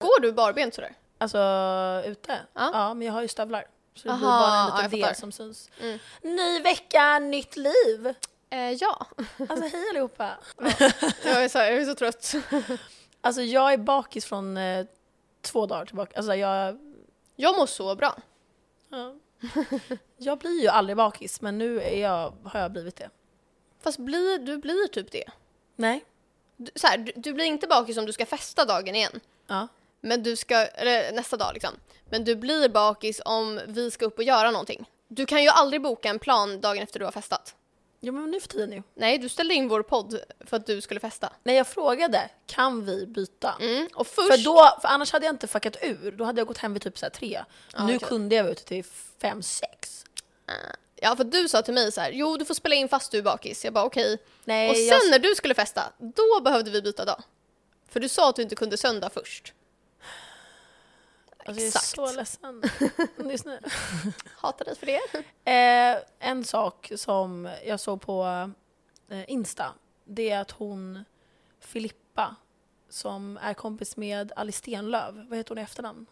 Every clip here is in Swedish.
Går du barbent sådär? Alltså ute? Ja. Ja, men jag har ju stövlar. Så det blir Aha, bara en ja, jag liten fattar. del som syns. Mm. Ny vecka, nytt liv! Eh, ja. Alltså hej allihopa! Jag är, så jag är så trött. Alltså jag är bakis från eh, två dagar tillbaka. Alltså jag... Jag mår så bra. Ja. jag blir ju aldrig bakis, men nu är jag, har jag blivit det. Fast blir, du blir typ det. Nej. Du, så här, du, du blir inte bakis om du ska festa dagen igen. Ja. Men du ska, eller nästa dag liksom. Men du blir bakis om vi ska upp och göra någonting. Du kan ju aldrig boka en plan dagen efter du har festat. Jo men nu för tiden ju. Nej, du ställde in vår podd för att du skulle festa. Nej jag frågade, kan vi byta? Mm. Och först... För, då, för annars hade jag inte fuckat ur, då hade jag gått hem vid typ så här tre. Ja, nu okej. kunde jag vara ute till fem, sex. Ja, för du sa till mig så här, jo du får spela in fast du är bakis. Jag bara okej. Nej, Och sen Eh, jag, när du skulle festa, då behövde vi byta dag. För du sa att du inte kunde söndag först. alltså, jag är exakt. så ledsen just nu. Hatar dig för det. Eh, en sak som jag såg på eh, Insta, det är att hon Filippa, som är kompis med Alice Stenlöf, vad heter hon i efternamn?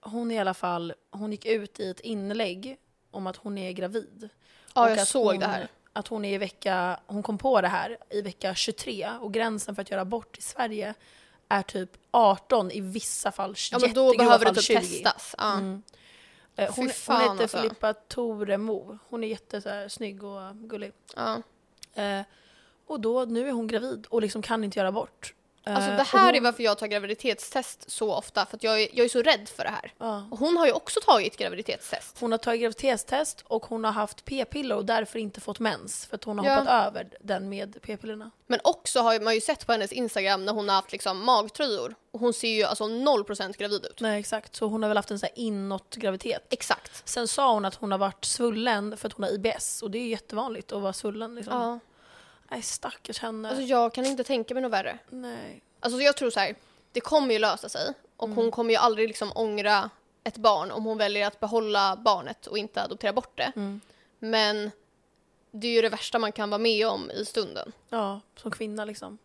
Hon i alla fall, hon gick ut i ett inlägg om att hon är gravid. Ja, Och jag att såg hon, det här. Att hon, är i vecka, hon kom på det här i vecka 23 och gränsen för att göra abort i Sverige är typ 18, i vissa fall Ja men då jättegrova behöver du fall Mm. typ 20. testas. Ja. Eh, Hon, Fy hon fan, heter alltså. Filippa Toremo. Hon är jätte, så här, snygg och gullig. Ja. Eh, och då, nu är hon gravid och liksom kan inte göra abort. Eh, Alltså det och här hon, är varför jag tar graviditetstest så ofta, för att jag är, jag är så rädd för det här. Ja. Och hon har ju också tagit graviditetstest. Hon har tagit graviditetstest och hon har haft p-piller och därför inte fått mens. För att hon har Ja. hoppat över den med p-pillerna. Men också har man ju sett på hennes Instagram när hon har haft liksom magtröjor. Och hon ser ju alltså 0% gravid ut. Nej exakt, så hon har väl haft en sån här inåt-graviditet. Exakt. Sen sa hon att hon har varit svullen för att hon har IBS och det är ju jättevanligt att vara svullen. Liksom. Ja. Nej stackars henne. Alltså jag kan inte tänka mig något värre. Nej. Alltså jag tror så här, det kommer ju lösa sig och Mm. hon kommer ju aldrig liksom ångra ett barn om hon väljer att behålla barnet och inte adoptera bort det. Men det är ju det värsta man kan vara med om i stunden. Ja, som kvinna liksom.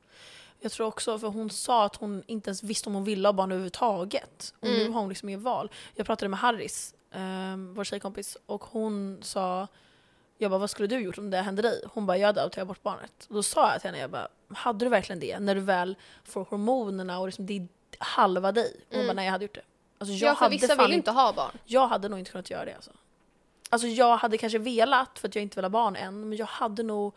Jag tror också, för hon sa att hon inte ens visste om hon ville ha barn överhuvudtaget. Och Mm. nu har hon liksom inget val. Jag pratade med Harris, eh, vår tjejkompis, och hon sa jag bara, vad skulle du gjort om det hände dig? Hon bara, jag hade adopterat bort barnet. Och då sa jag till henne, jag bara, hade du verkligen det? När du väl får hormonerna och liksom, det är halva dig. Och hon bara, nej jag hade gjort det. Alltså, jag Mm. ja, för hade vissa fan vill ju inte ha barn. Jag hade nog inte kunnat göra det alltså. Alltså jag hade kanske velat för att jag inte vill ha barn än men jag hade nog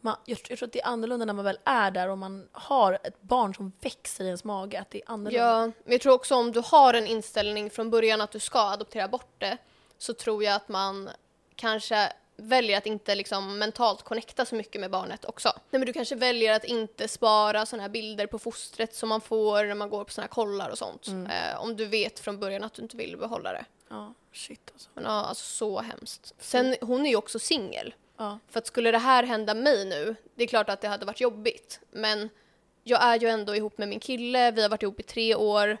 man, jag, tror- jag tror att det är annorlunda när man väl är där och man har ett barn som växer i ens mage. Att det är annorlunda. Ja, men jag tror också om du har en inställning från början att du ska adoptera bort det så tror jag att man kanske väljer att inte liksom mentalt connecta så mycket med barnet också. Nej, men du kanske väljer att inte spara sådana här bilder på fostret som man får när man går på sådana här kollar och sånt. Mm. Eh, om du vet från början att du inte vill behålla det. Ja, shit alltså. Men ja, alltså så hemskt. Sen, hon är ju också singel. Ja. För att skulle det här hända mig nu, det är klart att det hade varit jobbigt. Men jag är ju ändå ihop med min kille, vi har varit ihop i tre år.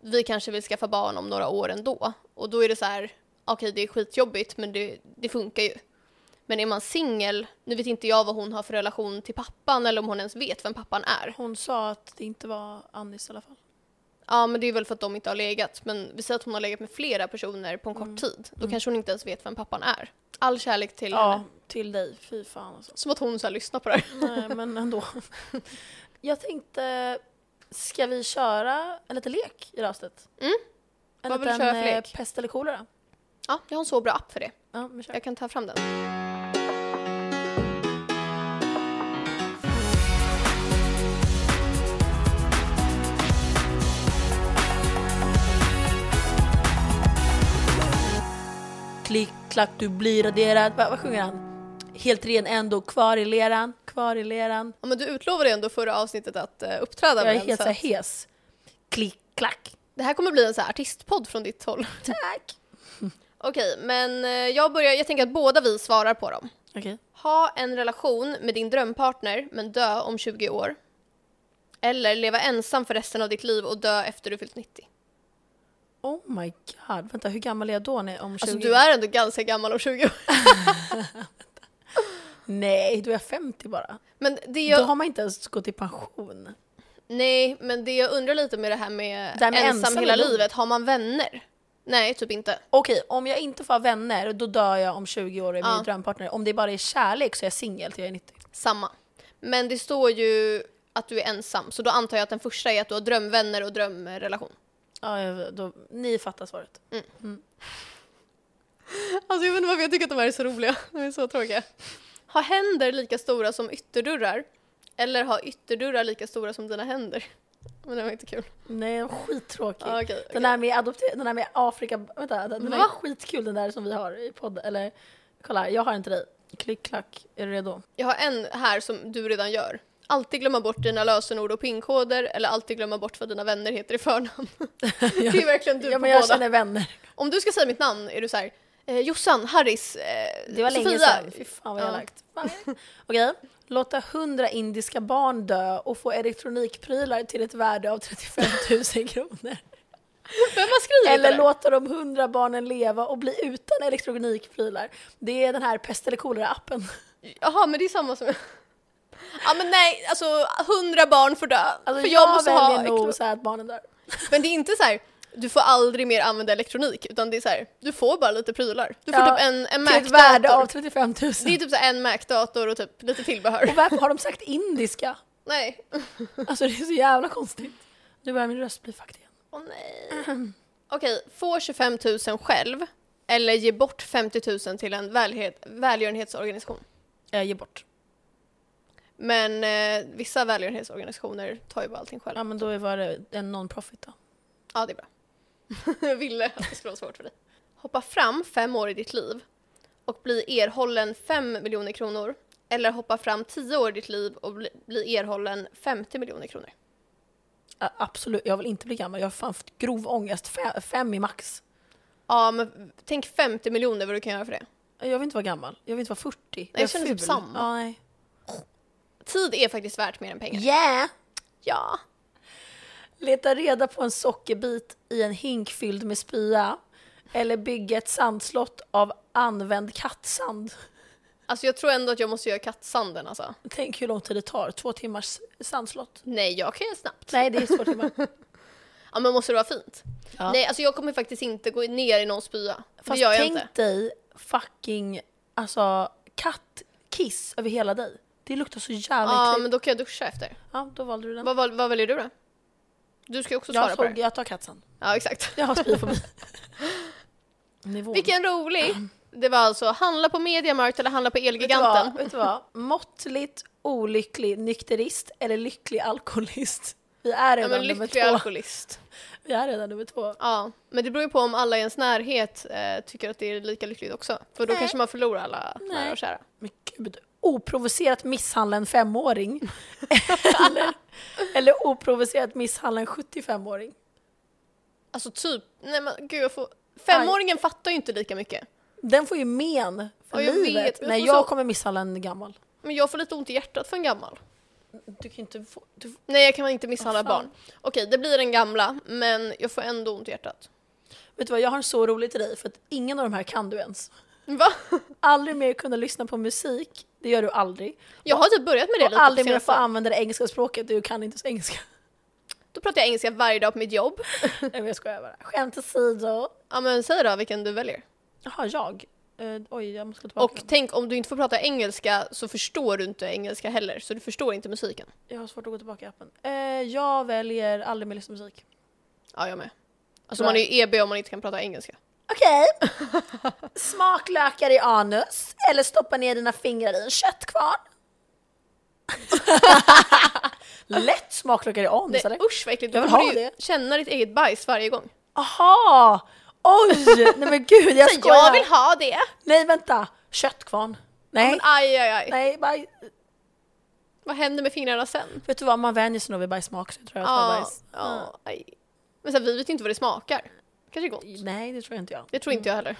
Vi kanske vill skaffa barn om några år ändå. Och då är det så här, okej det är skitjobbigt men det, det funkar ju. Men är man singel, nu vet inte jag vad hon har för relation till pappan eller om hon ens vet vem pappan är. Hon sa att det inte var Annis i alla fall. Ja men det är väl för att de inte har legat, men vi säger att hon har legat med flera personer på en kort tid. Då kanske hon inte ens vet vem pappan är. All kärlek till Ja, henne. till dig. Fy fan alltså. Som att hon så här lyssnar på det här. Nej, men ändå. Jag tänkte, ska vi köra en liten lek i det här avsnittet? Mm. En Vad vill du liten köra för eh, lek? pest eller kolera? Ja, jag har en så bra app för det. Ja, vi kör. Jag kan ta fram den. Klick, klack, du blir raderad. Va, vad sjunger han? Helt ren ändå, kvar i leran, kvar i leran. Ja, men du utlovade ju ändå förra avsnittet att eh, uppträda Jag med är den. helt Så så här att hes. Klick, klack. det här kommer bli en så här artistpodd från ditt håll. Tack! Okej, men eh, jag börjar. Jag tänker att båda vi svarar på dem. Okej. Ha en relation med din drömpartner men dö om 20 år. Eller leva ensam för resten av ditt liv och dö efter du fyllt 90. Oh my god, vänta hur gammal är jag då när, om 20? Alltså du är ändå ganska gammal om 20 år. Nej, då är jag 50 bara. Men det Då jag... har man inte ens gått i pension. Nej, men det jag undrar lite med det här med, Det här med ensam, ensam hela är lugnt. livet, har man vänner? Nej, typ inte. Okej, om jag inte får ha vänner då dör jag om 20 år och är min Ja. drömpartner. Om det bara är kärlek så är jag singel till jag är 90. Samma. Men det står ju att du är ensam, så då antar jag att den första är att du har drömvänner och drömrelation. Ja, jag- då, ni fattar svaret. Alltså jag vet inte varför jag tycker att de här är så roliga. De är så tråkiga. Har händer lika stora som ytterdörrar? Eller har ytterdörrar lika stora som dina händer? Men det var inte kul. Nej, den var skittråkig. Ah, okej, Den okej. där med adopter- den där med Afrika, vänta, den, den där Va? är skitkul den där som vi har i podden, eller kolla här, jag har en till dig. Klick klack, är du redo? Jag har en här som du redan gör. Alltid glömma bort dina lösenord och pinkoder eller alltid glömma bort vad dina vänner heter i förnamn. det är verkligen du ja, på men jag båda. känner vänner. Om du ska säga mitt namn är du så här, eh, Jossan, Harris, eh, Det var Sofia. länge sedan. Fy fan vad Ja. jag lagt. Okej, låta hundra indiska barn dö och få elektronikprylar till ett värde av 35 000 kronor. Vem har skrivit det Eller där? låta de hundra barnen leva och bli utan elektronikprylar. Det är den här pest eller kolera-appen. Jaha, men det är samma som jag. Ja men nej, alltså hundra barn får dö. Alltså, för jag, jag, måste väljer ha nog så här att barnen dör. Men det är inte så här, du får aldrig mer använda elektronik utan det är så här, du får bara lite prylar. Du får Ja, typ en, en Till ett värde av Mac-dator. 35 000. Det är typ så här en Mac-dator och typ lite tillbehör. Och varför har de sagt indiska? Nej. Alltså det är så jävla konstigt. Nu börjar min röst bli fakt igen. Åh nej. Okej, få 25 000 själv eller ge bort 50 000 till en välhet, välgörenhetsorganisation. Jag ger Eh, bort. Men eh, vissa välgörenhetsorganisationer tar ju bara allting själv. Ja men då var det en non-profit då. Ja, det är bra. Jag ville att det skulle vara svårt för dig. Hoppa fram fem år i ditt liv och bli erhållen 5 miljoner kronor. Eller hoppa fram 10 år i ditt liv och bli- bli erhållen 50 miljoner kronor. Ja, absolut, jag vill inte bli gammal. Jag har fan fått grov ångest. Fe- Fem i max. Ja, men tänk 50 miljoner vad du kan göra för det. Jag vill inte vara gammal. Jag vill inte vara 40. Nej, jag känner typ samma. Ja, nej. Tid är faktiskt värt mer än pengar. Yeah! Ja. Leta reda på en sockerbit i en hink fylld med spya. Eller bygga ett sandslott av använd kattsand. Alltså jag tror ändå att jag måste göra kattsanden alltså. Tänk hur lång tid det tar. Två timmars sandslott. Nej, jag kan göra snabbt. Nej, det är två timmar. Ja, men måste det vara fint? Ja. Nej, alltså jag kommer faktiskt inte gå ner i någon spya. det Fast gör jag tänk inte. dig fucking alltså, kattkiss över hela dig. Det luktar så jävla Ja, äckligt. men då kan jag duscha efter. Ja, då valde du den. Vad, vad, vad väljer du då? Du ska ju också svara Jag, på det. såg, jag tar kattsan. Ja, exakt. Jag har spyfobi. Nivån. Vilken rolig! Det var alltså handla på Mediamarkt eller handla på Vet du vad? Elgiganten. Vet du vad? Måttligt olycklig nykterist eller lycklig alkoholist. Vi är Ja, redan men nummer lycklig två. alkoholist. Vi är redan nummer två. Ja, men det beror ju på om alla i ens närhet eh, tycker att det är lika lyckligt också. För då Nej. kanske man förlorar alla Nej. nära och kära. Men gud, oprovocerat misshandla en femåring. eller, eller oprovocerat misshandla en 75-åring. Alltså typ, nej men gud jag får... Femåringen fattar ju inte lika mycket. Den får ju men för Ja, jag livet. vet. Jag Nej, får jag så- kommer misshandla en gammal. Men jag får lite ont i hjärtat för en gammal. Du kan inte få... Du... Nej jag kan väl inte misshandla Vad fan. barn. Okej, det blir den gamla, men jag får ändå ont i hjärtat. Vet du vad, jag har en så rolig till dig för att ingen av de här kan du ens. Va? Aldrig mer kunna lyssna på musik, det gör du aldrig. Jag har typ börjat med det Och lite på aldrig mer senaste. få använda det engelska språket, du kan inte ens engelska. Då pratar jag engelska varje dag på mitt jobb. Nej men jag skojar bara. Skämt åsido. Ja men säg då vilken du väljer. Jaha, jag? Eh, oj, jag måste gå tillbaka. Och tänk om du inte får prata engelska så förstår du inte engelska heller, så du förstår inte musiken. Jag har svårt att gå tillbaka i appen. Eh, jag väljer aldrig mer lyssna på musik. Ja, jag med. Alltså man är ju EB om man inte kan prata engelska. Okej. Smaklökar i anus eller stoppa ner dina fingrar i en köttkvarn? Lätt smaklökar i anus Nej, eller? usch vad äckligt, då Jag vill kommer ha du ju det. känna ditt eget bajs varje gång. Aha! Oj! Nej men gud jag Så jag skojar. vill ha det! Nej vänta. Köttkvarn. Nej. Men aj, aj, aj. Nej, baj... Vad händer med fingrarna sen? Vet du vad, man vänjer sig nog vid bajssmak så jag tror jag tar Ja, bajs. Mm. ja, aj. Men sen, vi vet ju inte vad det smakar. Kanske gott. Nej, det tror jag inte jag. Det tror inte jag heller.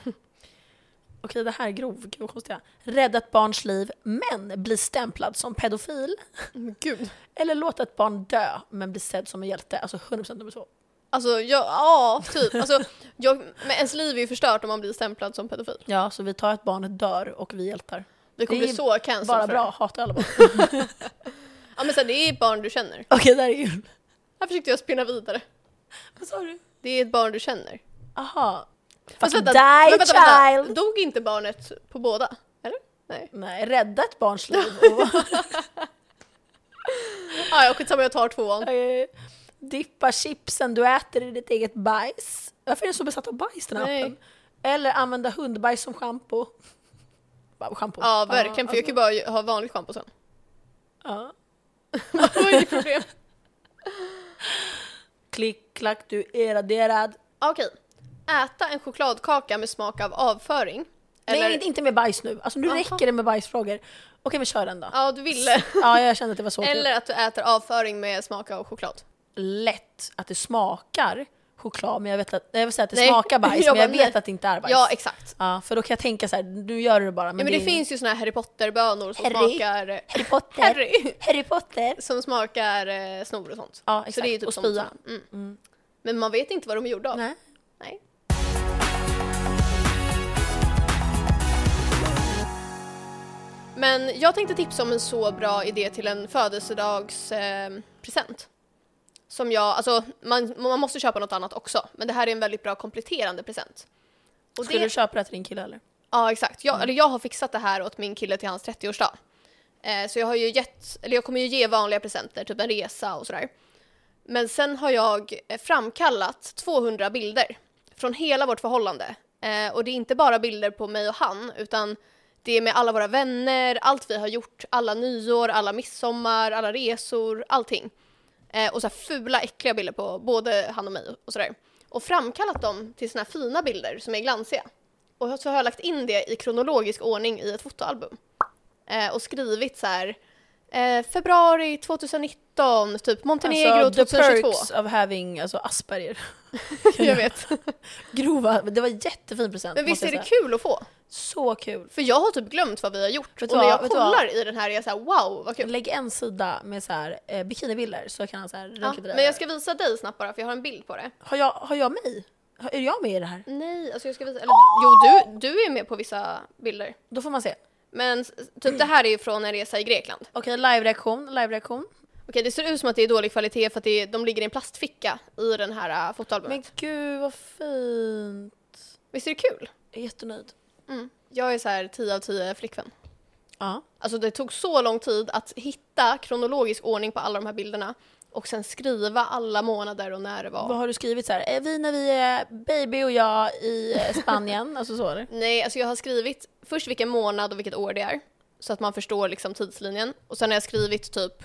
Okej, det här är grov. Gud vad konstiga. Rädda ett barns liv, men bli stämplad som pedofil. Gud. Eller låta ett barn dö, men bli sedd som en hjälte. Alltså 100% nummer två. Alltså, jag, ja, typ. Alltså, jag, men ens liv är ju förstört om man blir stämplad som pedofil. Ja, så vi tar att barnet dör och vi hjältar. Vi kommer Det är bli så cancelled Bara för det. bra, hatar alla barn. Ja men sen, det är barn du känner. Okej, det här är kul. Här försökte jag spinna vidare. Vad sa du? Det är ett barn du känner. Aha. Fast Fucking vänta, die men vänta, vänta. child! Dog inte barnet på båda? Eller? Nej. Nej, rädda ett barns liv. Ah, ja, skitsamma jag tar tvåan. Och, eh, Dippa chipsen du äter i ditt eget bajs. Varför är den så besatt av bajs den här Nej. appen? Eller använda hundbajs som schampo. Bara Schampo. Ja, verkligen. För jag kan ju alltså. bara ha vanligt schampo sen. Ja. Vad är ditt problem? Klick, klack, du är raderad. Okej. Äta en chokladkaka med smak av avföring. Nej, inte- inte med bajs nu. Alltså nu Aha. räcker det med bajsfrågor. Okej, men kör den då. Ja, du ville. Ja, jag kände att det var så. typ Eller att du äter avföring med smak av choklad. Lätt att det smakar choklad, men jag vet att, jag vill säga att det Nej, smakar bajs, jag men jag bara, vet nej. att det inte är bajs. Ja, exakt. Ja, för då kan jag tänka så här, nu gör du det bara. Men, Ja, men det är- finns ju såna här Harry Potter-bönor som Harry. smakar... Harry Potter. Harry! Harry Potter. Som smakar eh, snor och sånt. Ja, Så exakt. det är ju typ och som- spya. Mm. Men man vet inte vad de är gjorda av. Nej. Nej. Men jag tänkte tipsa om en så bra idé till en födelsedagspresent. Eh, present. som jag, alltså man, man måste köpa något annat också, men det här är en väldigt bra kompletterande present. Och Skulle det- du köpa det till din kille eller? Ja, exakt. Jag, eller jag har fixat det här åt min kille till hans 30-årsdag. Eh, så jag har ju gett, eller jag kommer ju ge vanliga presenter, typ en resa och sådär. Men sen har jag eh, framkallat 200 bilder från hela vårt förhållande. Eh, och det är inte bara bilder på mig och han, utan det är med alla våra vänner, allt vi har gjort, alla nyår, alla midsommar, alla resor, allting. Eh, och så här fula, äckliga bilder på både han och mig och sådär. Och framkallat dem till såna här fina bilder som är glansiga. Och så har jag lagt in det i kronologisk ordning i ett fotoalbum. Eh, och skrivit så här eh, februari 2019, typ Montenegro Alltså, the 2022. perks of having alltså, Asperger. jag vet. Grova, men det var en jättefin present. Men visst måste är det jag säga. kul att få? Så kul. För jag har typ glömt vad vi har gjort. Vet du och när vad, jag vet du vad? kollar i den här är jag såhär wow vad kul. Lägg en sida med så här, eh, bikinibilder så kan han så här Ja, runka till dig. men jag ska visa dig snabbt bara för jag har en bild på det. har, jag, har jag mig? Har, är jag med i det här? Nej, alltså jag ska visa. Eller, jo, du, du är med på vissa bilder. Då får man se. Men s- typ det här är ju från en resa i Grekland. Okej, live-reaktion, live-reaktion. Okej, det ser ut som att det är dålig kvalitet för att det är, de ligger i en plastficka i den här äh, fotoalbumet. Men gud vad fint. Visst är det kul? Jag är jättenöjd. Mm. Jag är så här 10 av 10 flickvän. Ja. Alltså det tog så lång tid att hitta kronologisk ordning på alla de här bilderna och sen skriva alla månader och när det var. Vad har du skrivit så här? Är vi när vi är baby och jag i eh, Spanien? alltså så eller? Nej, alltså jag har skrivit först vilken månad och vilket år det är. Så att man förstår liksom tidslinjen. Och sen har jag skrivit typ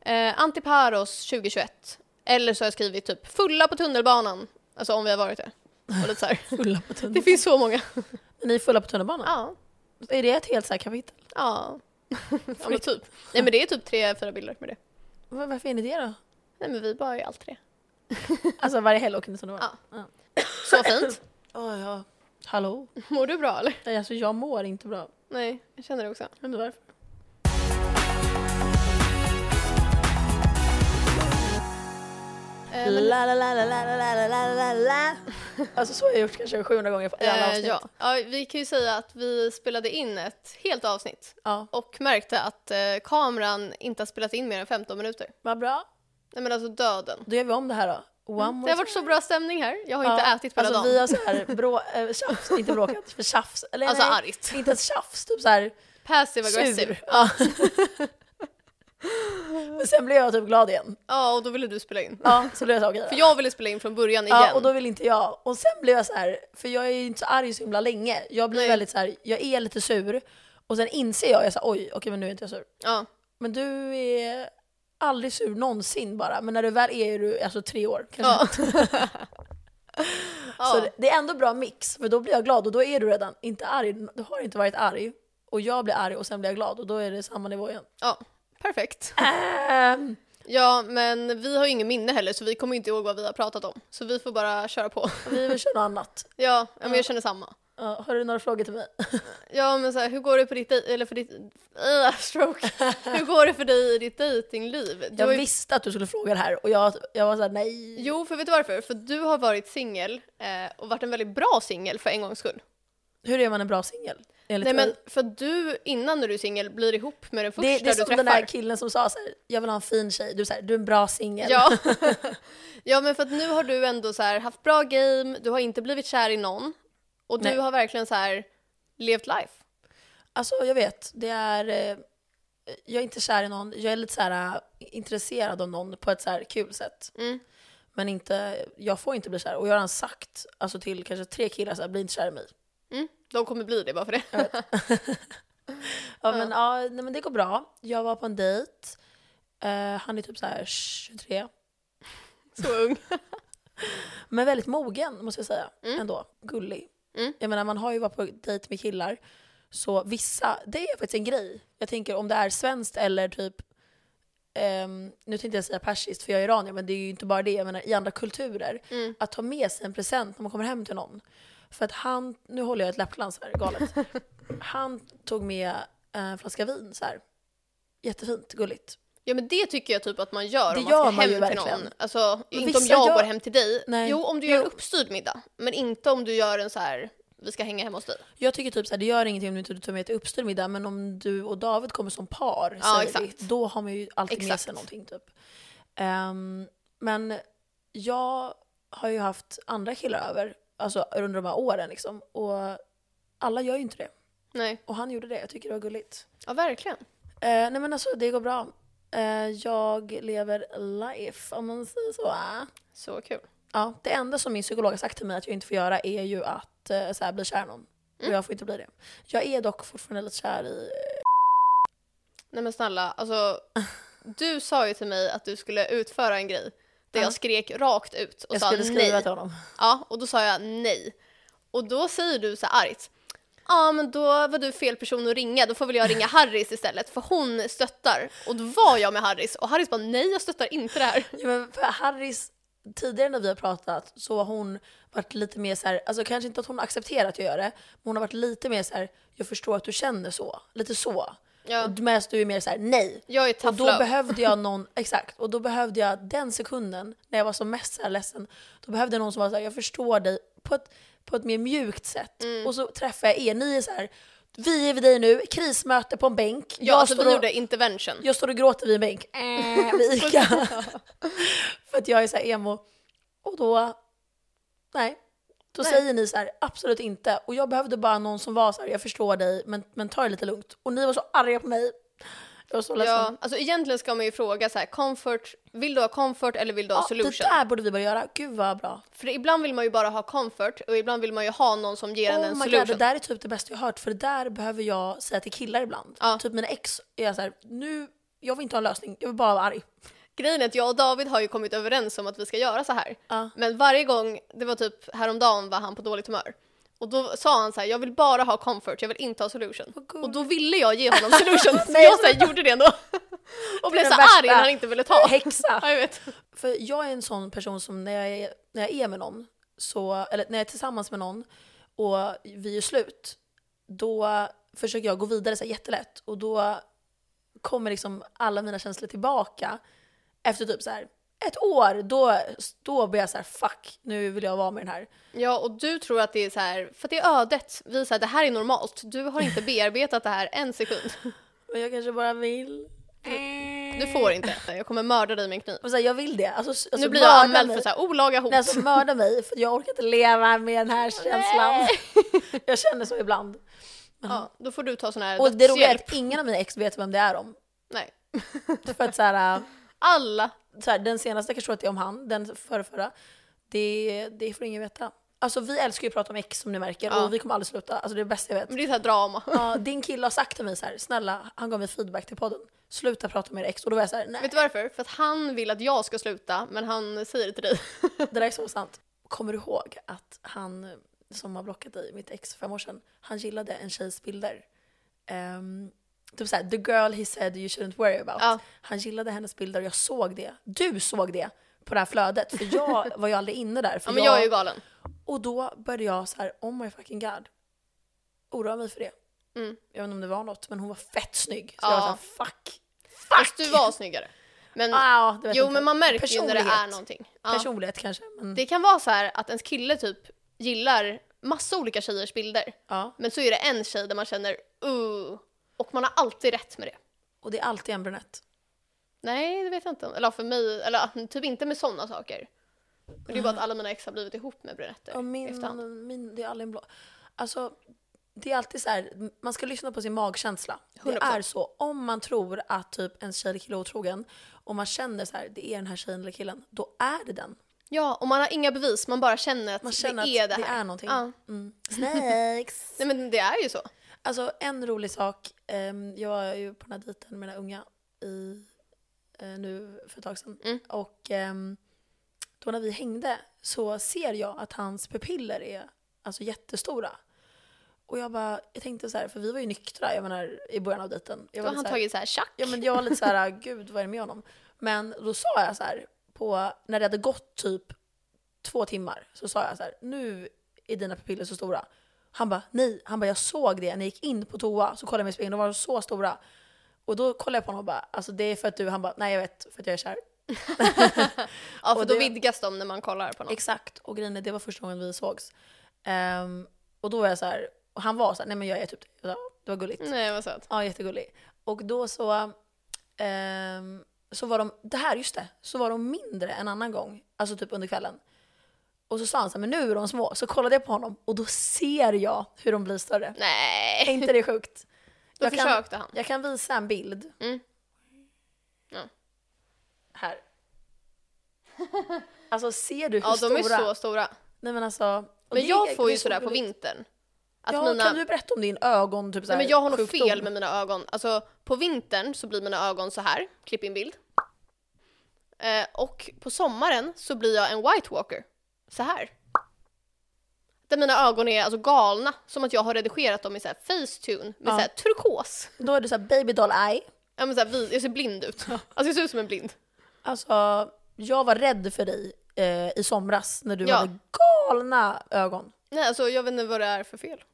eh, Antiparos 2021. Eller så har jag skrivit typ fulla på tunnelbanan. Alltså om vi har varit det. Och lite så här. Fulla på Det tunnelbanan. finns så många. Ni är fulla på tunnelbanan? Ja. Är det ett helt så här kapitel? Ja. ja men typ. Nej men det är typ tre, fyra bilder med det. Var- Varför är ni det då? Nej men vi bara är allt tre. Alltså varje helg åker ni tunnelbana? Ja. Så fint. Ja. ja. Hallå? Mår du bra eller? Nej, alltså jag mår inte bra. Nej, jag känner det också. Undrar varför. Eh, men, la, la, la, la, la, la, la, la, la. Alltså så har jag gjort kanske 700 gånger på- i alla eh, avsnitt. ja. ja, vi kan ju säga att vi spelade in ett helt avsnitt ja. och märkte att eh, kameran inte har spelat in mer än 15 minuter. Vad bra. Nej men alltså döden. Då gör vi om det här då. One more Mm. Det har varit så bra stämning här. Jag har time. inte Ja. ätit på hela alltså, dagen. vi har så här brå, äh, tjafs, inte bråkat, för tjafs. Eller, Alltså nej, argt. Inte ens tjafs, typ så här Passive aggressive. sur. Ja. Men sen blev jag typ glad igen. Ja, och då ville du spela in. Ja, så blev jag så okej. då. För jag ville spela in från början igen. Ja, och då vill inte jag. Och sen blev jag så här, för jag är ju inte så arg så himla länge. Jag blir Nej. väldigt så här, jag är lite sur. Och sen inser jag, jag så här, oj, okej men nu är inte jag sur. ja. Men du är aldrig sur någonsin bara. Men när du väl är, är du alltså tre år kanske. Ja. Så ja. det- det är ändå bra mix, för då blir jag glad och då är du redan inte arg. Du har inte varit arg. Och jag blir arg och sen blir jag glad och då är det samma nivå igen. ja, perfekt. Ehm, Ja, men vi har ju ingen minne heller så vi kommer inte ihåg vad vi har pratat om. Så vi får bara köra på. vi vill köra något annat. Ja, ja, men jag känner samma. Ja, har du några frågor till mig? Ja, men så här, hur går det på ditt, dej- eller för ditt, äh, stroke. Hur går det för dig i ditt dejtingliv? Du Jag har ju visste att du skulle fråga det här och jag, jag var såhär nej. Jo, för vet du varför? För du har varit singel eh, och varit en väldigt bra singel för en gångs skull. Hur är man en bra singel? Enligt Nej men dig? för du, innan när du är singel, blir ihop med den första det, det är du som träffar. den där killen som sa så här, jag vill ha en fin tjej. Du säger du är en bra singel. Ja. ja, men för att nu har du ändå så här haft bra game, du har inte blivit kär i någon och Nej. du har verkligen så här levt life. Alltså jag vet, det är... eh, Jag är inte kär i någon, jag är lite så här eh, intresserad av någon på ett så här kul sätt. Mm. Men inte, jag får inte bli kär. Och jag har redan sagt alltså till kanske tre killar så här, bli inte kär i mig. Mm. De kommer bli det bara för det. Ja, Men, ja, nej, men det går bra. Jag var på en dejt. Eh, han är typ så här 23. Så ung. Men väldigt mogen måste jag säga Mm. ändå. Gullig. Mm. Jag menar man har ju varit på dejt med killar. Så vissa, det är faktiskt en grej. Jag tänker om det är svenskt eller typ, ehm, nu tänkte jag säga persiskt för jag är iranier men det är ju inte bara det. Jag menar i andra kulturer. Mm. Att ta med sig en present när man kommer hem till någon. För att han, nu håller jag ett läppglans här, galet. han tog med en flaska vin så här. Jättefint, gulligt. Ja men det tycker jag typ att man gör Det om man ska gör man ju hem till någon. verkligen. Alltså Men inte om vissa jag gör- går hem till dig. Nej. Jo om du gör en uppstyrd middag. Men inte om du gör en så här vi ska hänga hemma hos dig. Jag tycker typ såhär, det gör ingenting om du inte tar med till uppstyrd middag, men om du och David kommer som par, Ja, säger exakt. Vi, då har man ju alltid med Exakt. sig någonting. Typ. Ehm, men jag har ju haft andra killar över, alltså under de här åren liksom, och alla gör ju inte det. Nej. Och han gjorde det, jag tycker det var gulligt. Ja verkligen. Eh, nej men alltså det går bra. Eh, jag lever life, om man säger så. Så kul. Ja, det enda som min psykolog har sagt till mig att jag inte får göra är ju att eh, så här, bli kär i någon. Mm. Och jag får inte bli det. Jag är dock fortfarande lite kär i... Nej men snälla, alltså du sa ju till mig att du skulle utföra en grej. Där Ja. jag skrek rakt ut och Jag sa skulle nej. skriva till honom. Ja, och då sa jag nej. Och då säger du så här argt. Ja, men då var du fel person att ringa. Då får väl jag ringa Harris istället, för hon stöttar. Och då var jag med Harris och Harris bara nej, jag stöttar inte det här. Ja, men för Harris, tidigare när vi har pratat så har hon varit lite mer så här, alltså kanske inte att hon accepterar att jag gör det, men hon har varit lite mer så här, jag förstår att du känner så. Lite så. Ja. Medan du är mer så här, nej. Jag är tough Och då love. behövde jag någon, exakt, och då behövde jag den sekunden när jag var som mest så här ledsen, då behövde jag någon som var så här, jag förstår dig på ett, på ett mer mjukt sätt. Mm. Och så träffade jag er, ni är så här, vi är vid dig nu, krismöte på en bänk. Ja, alltså står vi och- gjorde intervention. jag står och gråter vid en bänk äh, vid Ica. För att jag är så här emo. Och då, nej. Då Nej. säger ni så här, absolut inte. Och jag behövde bara någon som var så här, jag förstår dig, men, men ta det lite lugnt. Och ni var så arga på mig. Jag var så ledsen. Ja, alltså egentligen ska man ju fråga så här, comfort, vill du ha comfort eller vill du ha Ja, det solution? där borde vi börja göra. Gud vad bra. För ibland vill man ju bara ha comfort och ibland vill man ju ha någon som ger en Oh en my God, det solution. där är typ det bästa jag hört. För det där behöver jag säga till killar ibland. Ja. Typ mina ex är jag så här, nu, jag vill inte ha en lösning, jag vill bara vara arg. Grejen är att jag och David har ju kommit överens om att vi ska göra så här. Ja. Men varje gång, det var typ häromdagen var han på dåligt humör. Och då sa han så här, jag vill bara ha comfort, jag vill inte ha solution. gulligt. Och då ville jag ge honom solution, så Nej, jag så här, gjorde det ändå. Och blev den så här arg värsta när han inte ville ta. Häxa! Ja, jag vet. För jag är en sån person som när jag är, när jag är med någon, så, eller när jag är tillsammans med någon och vi är slut, då försöker jag gå vidare så här jättelätt och då kommer liksom alla mina känslor tillbaka efter typ så här ett år. Då, då blir jag så här fuck, nu vill jag vara med den här. Ja, och du tror att det är så här, för att det är ödet. Vi säger det här är normalt, du har inte bearbetat det här en sekund. Men jag kanske bara vill. Du får inte äta, jag kommer mörda dig med en kniv. Och så här, jag vill det. Alltså, alltså, Nu blir jag mörda anmäld mig. för så här, olaga hot. Nej, alltså mörda mig för jag orkar inte leva med den här känslan. Jag känner så ibland. Ja, då får du ta sån här Och det roliga är dödshjälp. att ingen av mina ex vet vem det är om. Nej. För att så här, äh, Alla. så här, den senaste kanske tror att det är om han, den förra, förra. Det, det får ingen veta. Alltså vi älskar ju att prata om ex som ni märker Ja. Mm. och vi kommer aldrig sluta. Alltså det är det bästa jag vet. Men det är så här drama. Ja, din kille har sagt till mig så här, snälla, han gav mig feedback till podden. Sluta prata om era ex. Och då var jag så här, nej Vet du varför? För att han vill att jag ska sluta, men han säger det till dig. det där är så sant. Kommer du ihåg att han som har blockat dig, mitt ex för fem år sedan, han gillade en tjejs bilder. Ehm, typ såhär, the girl he said you shouldn't worry about. Ja. Han gillade hennes bilder och jag såg det. Du såg det på det här flödet. För jag var ju aldrig inne där. För Ja, men jag är ju galen. Och då började jag så här, oh my fucking god. Oroa mig för det. Mm. Jag vet inte om det var något, men hon var fett snygg. Så Ja. jag var såhär, fuck. Fast du var snyggare. Men, Ah, det vet jag jo, inte. men man märker ju när det Personlighet. är någonting. Ja. Personlighet kanske. Men... Det kan vara så här att ens kille typ gillar massa olika tjejers bilder. Ja. Men så är det en tjej där man känner uh, och man har alltid rätt med det. Och det är alltid en brunett. Nej, det vet jag inte. Eller ja, för mig, eller ja, typ inte med sådana saker. Och det är bara att alla mina ex har blivit ihop med brunetter Ja, i efterhand. min, min, det är aldrig en blå. Alltså, det är alltid så här, man ska lyssna på sin magkänsla. Det 100%. är så, om man tror att typ en tjej eller kille är otrogen och man känner så här, det är den här tjejen eller killen, då är det den. Ja, och man har inga bevis, man bara känner att Man känner det är att det det här. är någonting. Ja. Mm. Snakes! Nej men det är ju så. Alltså en rolig sak, ehm, jag var ju på den här dejten med den här unga i, eh, nu för ett tag sedan. Mm. Och ehm, då när vi hängde så ser jag att hans pupiller är alltså jättestora. Och jag bara, jag tänkte så här, för vi var ju nyktra, jag menar i början av dejten. Jag Då var har han lite så här- tagit så här tjack. Ja men jag var lite så här, gud vad är det med honom? Men då sa jag så här, på, när det hade gått typ två timmar, så sa jag så här, nu är dina pupiller så stora. Han bara, nej, han bara, jag såg det när jag gick in på toa, så kollade jag mig i spegeln, de var så stora. Och då kollade jag på honom och bara, alltså det är för att du, han bara, nej jag vet, för att jag är kär. ja, för och då det- vidgas de när man kollar på någon. Exakt, och grejen är, det var första gången vi sågs. Ehm, och då var jag så här, och han var så här, nej men jag är typ det. Jag sa, Det var gulligt. Nej, vad söt. Ja, jättegullig. Och då så, ehm, så var de, det här, just det, så var de mindre en annan gång, alltså typ under kvällen. Och så sa han så här, men nu är de små. Så kollade jag på honom och då ser jag hur de blir större. Är Nej, inte det sjukt? då Jag kan, försökte han. jag kan visa en bild. Mm. Ja. Här. Alltså ser du hur Ja, stora? de är så stora. Nej men alltså. och Men det- jag får det är ju sådär på gulligt. vintern. Att ja, mina... kan du berätta om din ögon? Typ så Nej, här, men jag har nog sjukdom? fel med mina ögon. Alltså, på vintern så blir mina ögon så här. Klipp in bild. Eh, och på sommaren så blir jag en white walker. Så här. Där mina ögon är alltså galna, som att jag har redigerat dem i så här facetune med Ja. så här turkos. Då är du så här baby doll eye. Ja, men så här, vid- jag ser blind ut. Alltså jag ser ut som en blind. Alltså, jag var rädd för dig eh, i somras när du Ja. hade galna ögon. Nej, alltså jag vet inte vad det är för fel.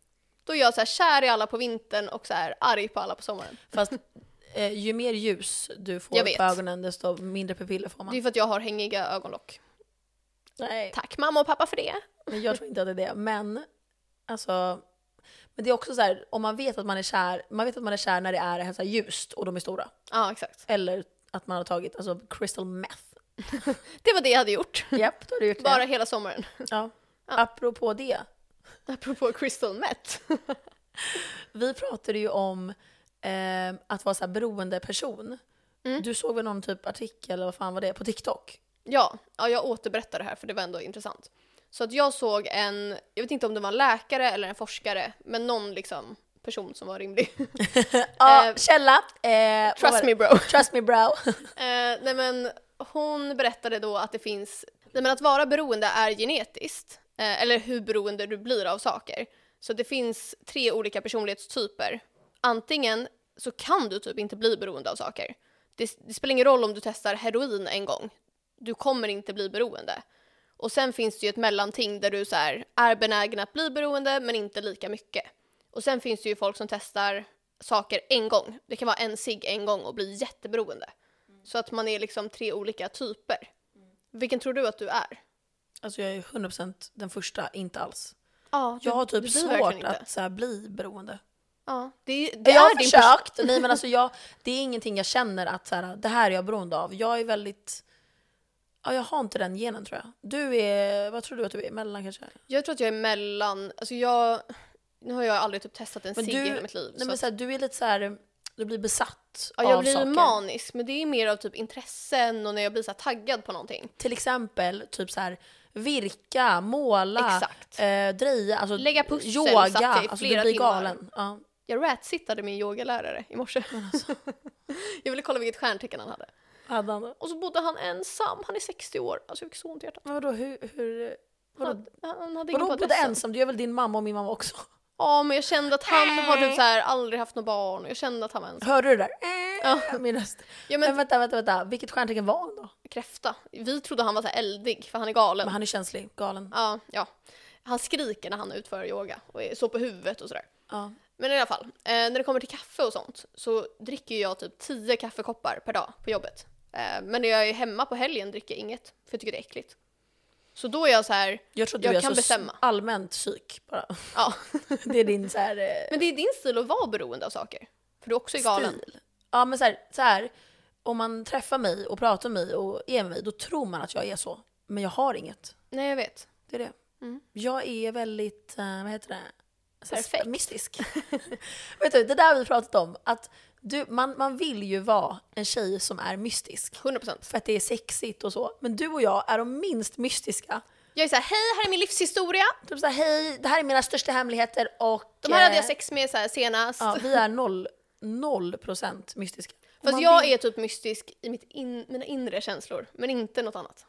Då är jag så här kär i alla på vintern och så här arg på alla på sommaren. Fast eh, ju mer ljus du Jag får vet. på ögonen desto mindre pupiller får man. Det är för att jag har hängiga ögonlock. Nej. Tack mamma och pappa för det. Men jag tror inte att det är det. Men, alltså, men det är också så här, om man vet att man är kär, man vet att man är kär när det är så här ljust och de är stora. Ja, exakt. Eller att man har tagit alltså, crystal meth. Det var det jag hade gjort. Japp, då har du gjort Bara det. hela sommaren. Ja. Apropå det. Apropå crystal meth. Vi pratade ju om eh, att vara så här beroende person. Mm. Du såg väl någon typ artikel eller vad fan var det på TikTok? Ja, ja, jag återberättar det här för det var ändå intressant. Så att jag såg en, jag vet inte om det var en läkare eller en forskare, men någon liksom person som var rimlig. Ja, Eh, källa. Eh, vad var Trust det? me bro. Trust me bro. Eh, nej men hon berättade då att det finns, nej men att vara beroende är genetiskt, eh, eller hur beroende du blir av saker. Så det finns tre olika personlighetstyper. Antingen så kan du typ inte bli beroende av saker. Det, det spelar ingen roll om du testar heroin en gång, du kommer inte bli beroende. Och sen finns det ju ett mellanting där du så här är benägen att bli beroende men inte lika mycket. Och sen finns det ju folk som testar saker en gång. Det kan vara en cigg en gång och bli jätteberoende. Så att man är liksom tre olika typer. Vilken tror du att du är? Alltså jag är 100% den första, inte alls. Ja, Jag har typ blir verkligen svårt inte. att så här, bli beroende. Ja, det, det jag är har din försökt, nej men alltså jag, det är ingenting jag känner att så här, det här är jag beroende av. Jag är väldigt, ja jag har inte den genen tror jag. Du är, vad tror du att du är? Mellan kanske? Jag tror att jag är mellan, alltså jag, nu har jag aldrig typ testat en Men cigg i du- hela mitt liv. Nej så men att, så här, du är lite så här, du blir besatt ja, jag av blir saker. manisk, men det är mer av typ intressen och när jag blir så här taggad på någonting. Till exempel typ så här, virka, måla, Exakt. eh, dreja, alltså Lägga pussel, yoga. satt jag i alltså, flera du blir timmar. galen. Ja. Jag ratsittade min yogalärare i morse. alltså. jag ville kolla vilket stjärntecken han hade. Hade han, Och så bodde han ensam, han är 60 år. Alltså jag fick så ont i hjärtat. men vadå, hur, hur vadå, Han, han hade ingen vadå på bodde adressen. ensam? Du är väl din mamma och min mamma också? Ja, men jag kände att han har typ så här aldrig haft några barn och jag kände att han var ensam. Hörde du det där? Eh, Ja. Min röst. Ja, Men men vänta, vänta, vänta. Vilket stjärntecken var han då? kräfta. Vi trodde han var så här eldig för han är Men galen. han är känslig, galen. Ja, ja. Han skriker när han utför yoga och är så på huvudet och sådär. Ja. Men i alla fall, eh, när det kommer till kaffe och sånt så dricker ju jag typ 10 kaffekoppar per dag på jobbet. Eh, men när jag är hemma på helgen dricker jag inget, för jag tycker det är äckligt. Så då är jag så här, Jag tror att du Jag är kan alltså s- bestämma. allmänt psyk bara. ja. Det är din så här, eh, Men det är din stil att vara beroende av saker. För du också är galen. stil. Ja men så här, så här, om man träffar mig och pratar med mig och är med mig då tror man att jag är så. Men jag har inget. Nej, jag vet. Det är det. Mm. Jag är väldigt, eh, vad heter det? Så här Perfekt. Mystisk. Vet du, det där har vi pratat om. Att du, man, man vill ju vara en tjej som är mystisk. 100%. För att det är sexigt och så. Men du och jag är de minst mystiska. Jag är så här, hej, här är min livshistoria. Typ såhär, hej, det här är mina största hemligheter och... De här hade jag eh, sex med så här senast. Ja, vi är noll, noll procent mystiska. Och Fast man jag vill- är typ mystisk i mitt in, mina inre känslor, men inte något annat.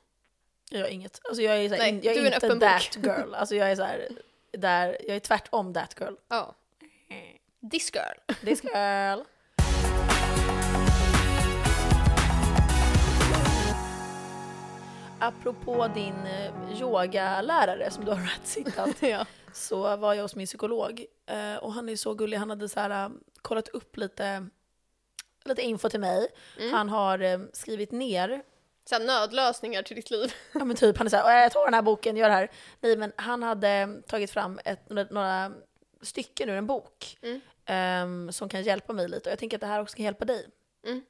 Jag är inget. Alltså jag är, såhär, Nej, in, jag du är är en inte öppen bok. that girl. Alltså jag är såhär, där, jag är tvärtom that girl. Ja. This girl. This girl. Apropå din eh, yogalärare som du har rattsittat ja. så var jag hos min psykolog eh, och han är så gullig. Han hade så här, eh, kollat upp lite, lite info till mig. Han har eh, skrivit ner, Så här, nödlösningar till ditt liv. ja men typ han är så här, "Åh, jag tar den här boken, gör det här. Nej men han hade eh, tagit fram ett, några- några stycken ur en bok Mm. ehm, som kan hjälpa mig lite och jag tänker att det här också kan hjälpa dig. Mm.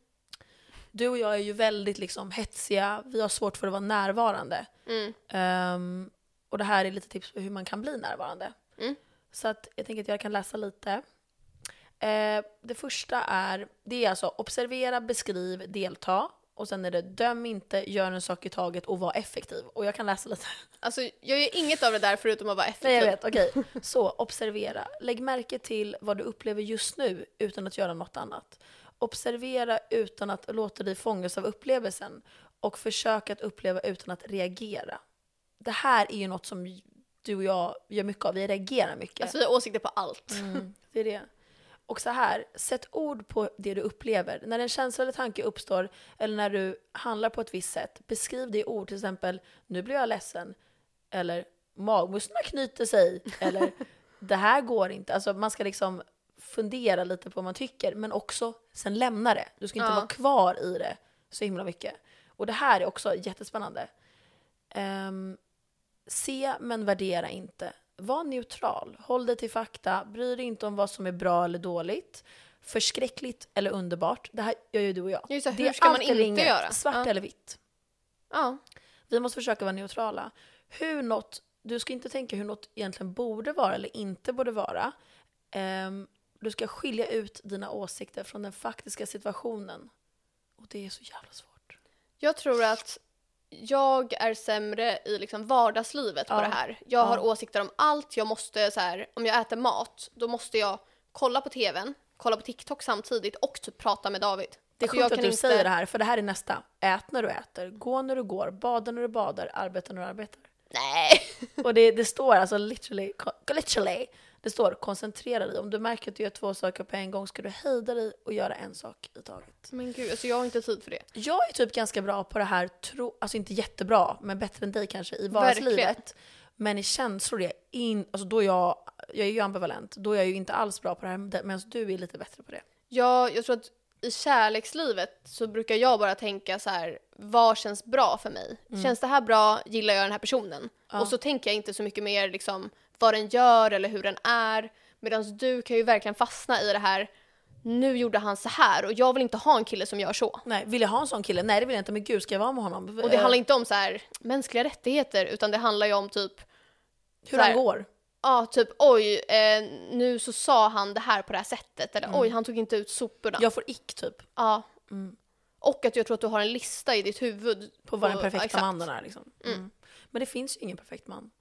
Du och jag är ju väldigt liksom hetsiga, vi har svårt för att vara närvarande. Mm. Ehm, och det här är lite tips på hur man kan bli närvarande. Mm. Så att jag tänker att jag kan läsa lite. Eh, det första är, det är alltså observera, beskriv, delta. Och sen är det döm inte, gör en sak i taget och var effektiv. Och jag kan läsa lite. Alltså, jag gör inget av det där förutom att vara effektiv. Nej jag vet, okej. Så observera. Lägg märke till vad du upplever just nu utan att göra något annat. Observera utan att låta dig fångas av upplevelsen. Och försök att uppleva utan att reagera. Det här är ju något som du och jag gör mycket av, vi reagerar mycket. Alltså vi har åsikter på allt. Det är det. Och så här, sätt ord på det du upplever. När en känsla eller tanke uppstår eller när du handlar på ett visst sätt, beskriv det i ord. Till exempel, nu blir jag ledsen. Eller, magmusklerna knyter sig. Eller, det här går inte. Alltså man ska liksom fundera lite på vad man tycker, men också sen lämna det. Du ska inte Ja. vara kvar i det så himla mycket. Och det här är också jättespännande. Ehm, Se men värdera inte. Var neutral. Håll dig till fakta. Bry dig inte om vad som är bra eller dåligt. Förskräckligt eller underbart. Det här gör ju du och jag. Just det, hur är ska man allt eller inte inget, göra? Svart Ja. eller vitt. Ja. Vi måste försöka vara neutrala. Hur något, du ska inte tänka hur något egentligen borde vara eller inte borde vara. Ehm, du ska skilja ut dina åsikter från den faktiska situationen. Och det är så jävla svårt. Jag tror att jag är sämre i liksom vardagslivet Ja. på det här. Jag har Ja. åsikter om allt, jag måste så här, om jag äter mat, då måste jag kolla på tvn, kolla på TikTok samtidigt och typ prata med David. Det är Alltså, sjukt jag att kan du inte- säger det här, för det här är nästa. Ät när du äter, gå när du går, bada när du badar, arbeta när du arbetar. Nej! Och det, det står alltså literally, ko- literally, det står koncentrera dig. Om du märker att du gör två saker på en gång ska du hejda dig och göra en sak i taget. Men gud, alltså jag har inte tid för det. Jag är typ ganska bra på det här, tro, alltså inte jättebra, men bättre än dig kanske i vardagslivet. Men i känslor är jag in, alltså då är jag, jag är ju ambivalent, då är jag ju inte alls bra på det här medan du är lite bättre på det. Jag, jag tror att i kärlekslivet så brukar jag bara tänka så här, vad känns bra för mig? Känns det här bra? Gillar jag den här personen? Och så tänker jag inte så mycket mer liksom vad den gör eller hur den är. Medan du kan ju verkligen fastna i det här, nu gjorde han så här och jag vill inte ha en kille som gör så. Nej, vill jag ha en sån kille? Nej det vill jag inte, men gud ska jag vara med honom? Och det Eh, handlar inte om så här mänskliga rättigheter utan det handlar ju om typ Hur så han här- går? Ja, typ oj, eh, nu så sa han det här på det här sättet. Eller oj, han tog inte ut soporna. Jag får ick typ. Ja. Mm. Och att jag tror att du har en lista i ditt huvud. På vad den ja, perfekta exakt. mannen är liksom. Mm. Men det finns ju ingen perfekt man.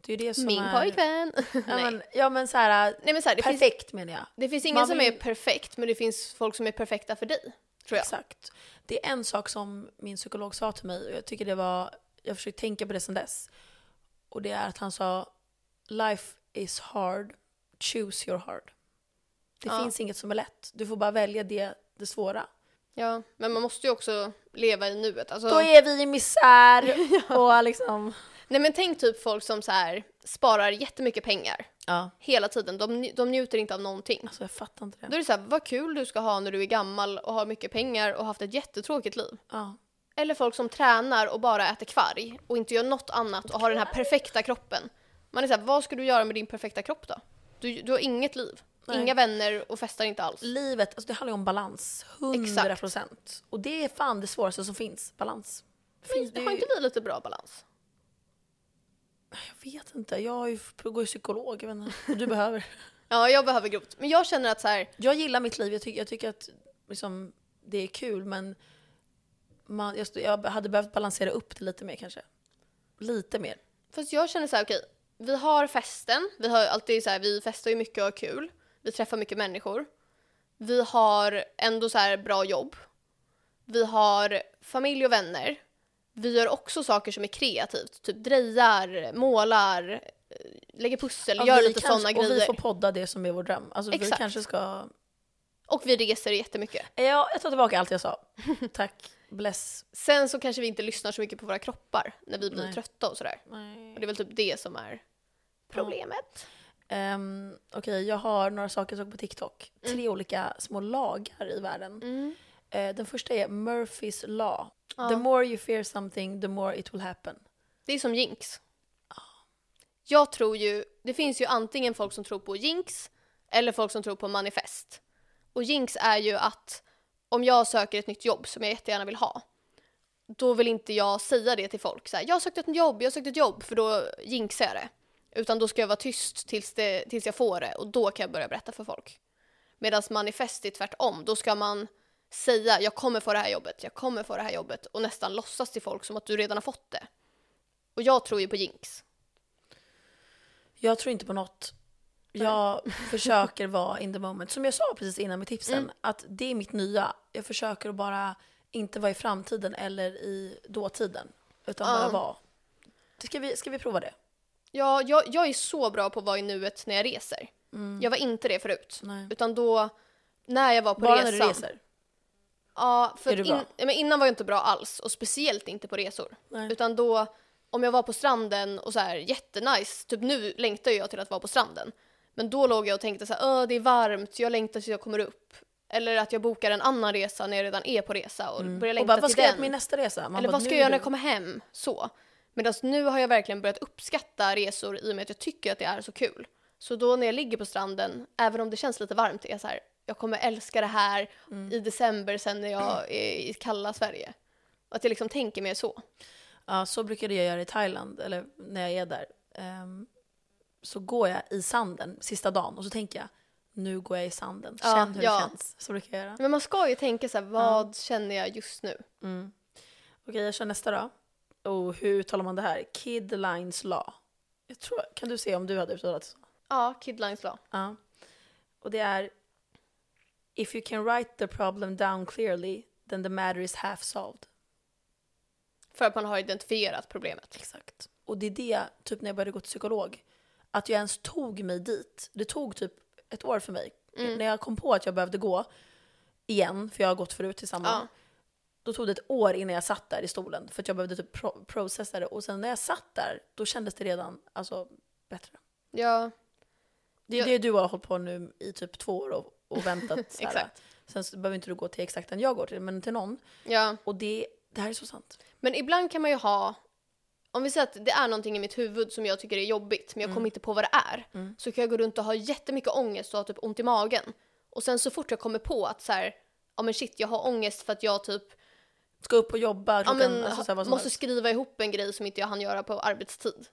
Det är ju det som Min är... pojkvän! Ja Nej. men, ja, men så här, äh, Nej men så här, det, finns, perfekt menar jag. det finns ingen man som vill- är perfekt, men det finns folk som är perfekta för dig. Tror jag. Exakt. Det är en sak som min psykolog sa till mig och jag tycker det var, jag försöker tänka på det sedan dess. Och det är att han sa Life is hard, choose your hard. Det Ja. finns inget som är lätt, du får bara välja det, det svåra. Ja, men man måste ju också leva i nuet. Alltså, Då är vi i misär och liksom... Nej men tänk typ folk som så här sparar jättemycket pengar Ja. hela tiden. De, nj- de njuter inte av någonting. Alltså jag fattar inte det. Då är det så här, vad kul du ska ha när du är gammal och har mycket pengar och haft ett jättetråkigt liv. Ja. Eller folk som tränar och bara äter kvarg och inte gör något annat och har den här perfekta kroppen. Man är såhär, vad ska du göra med din perfekta kropp då? Du, du har inget liv. Nej. Inga vänner och festar inte alls. Livet, alltså det handlar ju om balans. 100%. procent. Och det är fan det svåraste som finns. Balans. Fin- Men har inte vi lite bra balans? Jag vet inte, jag har ju, går ju psykolog. Jag vet inte, och du behöver. Ja, jag behöver grovt. Men jag känner att så här, Jag gillar mitt liv, jag, ty- jag tycker att liksom, det är kul men man, jag, jag hade behövt balansera upp det lite mer kanske. Lite mer. Fast jag känner så här, okej, vi har festen, vi har ju alltid så här, vi festar ju mycket och har kul, vi träffar mycket människor, vi har ändå så här bra jobb, vi har familj och vänner, vi gör också saker som är kreativt, typ drejar, målar, eh, lägger pussel, Ja, gör vi lite kanske- sådana Och vi grejer. får podda det som är vår dröm. Alltså, vi Exakt. kanske ska... Och vi reser jättemycket. Ja, jag tar tillbaka allt jag sa. Tack. Bless. Sen så kanske vi inte lyssnar så mycket på våra kroppar när vi blir Nej. trötta och sådär. Och det är väl typ det som är problemet. Ehm, Okej, jag har några saker jag såg på TikTok. Tre olika små lagar i världen. Mm. Eh, den första är Murphys law. Ja. The more you fear something, the more it will happen. Det är som jinx. Jag tror ju, det finns ju antingen folk som tror på jinx eller folk som tror på manifest. Och jinx är ju att om jag söker ett nytt jobb som jag jättegärna vill ha, då vill inte jag säga det till folk. Så här, jag har sökt ett jobb, jag har sökt ett jobb, för då jinxar jag det. Utan då ska jag vara tyst tills, det, tills jag får det och då kan jag börja berätta för folk. Medan manifest är tvärtom, då ska man säga jag kommer få det här jobbet, jag kommer få det här jobbet och nästan låtsas till folk som att du redan har fått det. Och jag tror ju på jinx. Jag tror inte på något. Jag försöker vara in the moment. Som jag sa precis innan med tipsen, Mm. att det är mitt nya. Jag försöker att bara inte vara i framtiden eller i dåtiden. Utan bara Ja. vara. Ska vi, ska vi prova det? Ja, jag, jag är så bra på att vara i nuet när jag reser. Jag var inte det förut. Mm. Nej. Utan då, när jag var på Bara resan. när du reser? Ja, för Är du att in, bra? ja, men innan var jag inte bra alls. Och speciellt inte på resor. Nej. Utan då, om jag var på stranden och så här jättenice, typ nu längtar jag till att vara på stranden. Men då låg jag och tänkte så här, "Åh, det är varmt, jag längtar tills jag kommer upp. Eller att jag bokar en annan resa när jag redan är på resa och börjar längta Mm. Och bara, vad till ska jag den. göra på min nästa resa? Man Eller bara, vad ska nu jag göra när är jag kommer hem? Så. Medan nu har jag verkligen börjat uppskatta resor i och med att jag tycker att det är så kul. Så då när jag ligger på stranden, även om det känns lite varmt, är jag så här, jag kommer älska det här Mm. i december sen när jag är i kalla Sverige. Och att jag liksom tänker mer så. Ja, så brukade jag göra i Thailand, eller när jag är där. Ehm, så går jag i sanden sista dagen och så tänker jag, nu går jag i sanden, Ja, känn hur ja. det känns. Så brukar jag göra. Men man ska ju tänka så här, vad känner jag just nu? Okej, jag kör nästa då. Och hur uttalar man det här? Kid Lines Law. Jag tror, kan du se om du hade uttalat det så? Ja, Kidlines law. Ja. Och det är If you can write the problem down clearly then the matter is half solved. För att man har identifierat problemet. Exakt. Och det är det, typ när jag började gå till psykolog, att jag ens tog mig dit. Det tog typ ett år för mig. Mm. När jag kom på att jag behövde gå igen, för jag har gått förut tillsammans, Ja. då tog det ett år innan jag satt där i stolen för att jag behövde typ pro- processa det. Och sen när jag satt där, då kändes det redan alltså, bättre. Ja, Det är Jag- det du har hållit på nu i typ två år och, och väntat. såhär. Exakt. Sen så behöver inte du gå till exakt den jag går till, men till någon. ja. Och det, det här är så sant. Men ibland kan man ju ha, om vi säger att det är någonting i mitt huvud som jag tycker är jobbigt men jag Mm. kommer inte på vad det är. Så kan jag gå runt och ha jättemycket ångest och ha typ ont i magen. Och sen så fort jag kommer på att så här, ja men shit jag har ångest för att jag typ Ska upp och jobba, ja, klockan, men, alltså, såhär, vad som måste helst. skriva ihop en grej som inte jag hann göra på arbetstid.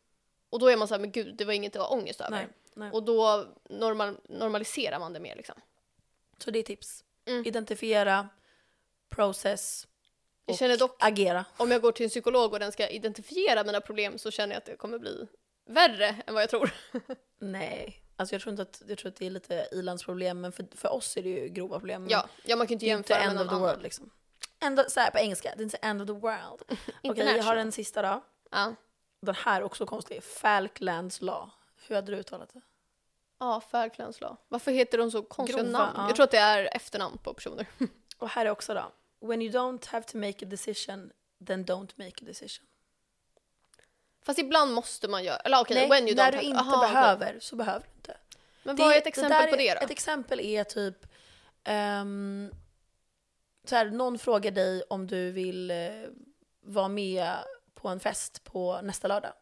Och då är man så här, men gud det var inget att ha ångest över. Nej, nej. Och då normal, normaliserar man det mer liksom. Så det är tips. Mm. Identifiera, process Jag Och- känner dock, agera. om jag går till en psykolog och den ska identifiera mina problem så känner jag att det kommer bli värre än vad jag tror. Nej, alltså jag tror inte att, jag tror att det är lite ilandsproblem, men för, för oss är det ju grova problem. Men Ja, ja man kan ju inte det är inte jämföra med end någon of the annan. world liksom. End of, så här på engelska, det är inte end of the world. Okej, jag har International. en sista då. Ja. Den här är också konstig. Falklands law. Hur hade du uttalat det? Ja, Falklands law. Varför heter de så konstiga Grova, namn? ja. Jag tror att det är efternamn på personer. Och här är också då. When you don't have to make a decision, then don't make a decision. Fast ibland måste man göra... Eller okej, Nej, when you när don't du have- inte Aha, okej. behöver så behöver du inte. Men vad är ett exempel där på det är- då? Ett exempel är typ... ehm, så här, någon frågar dig om du vill eh, var med på en fest på nästa lördag.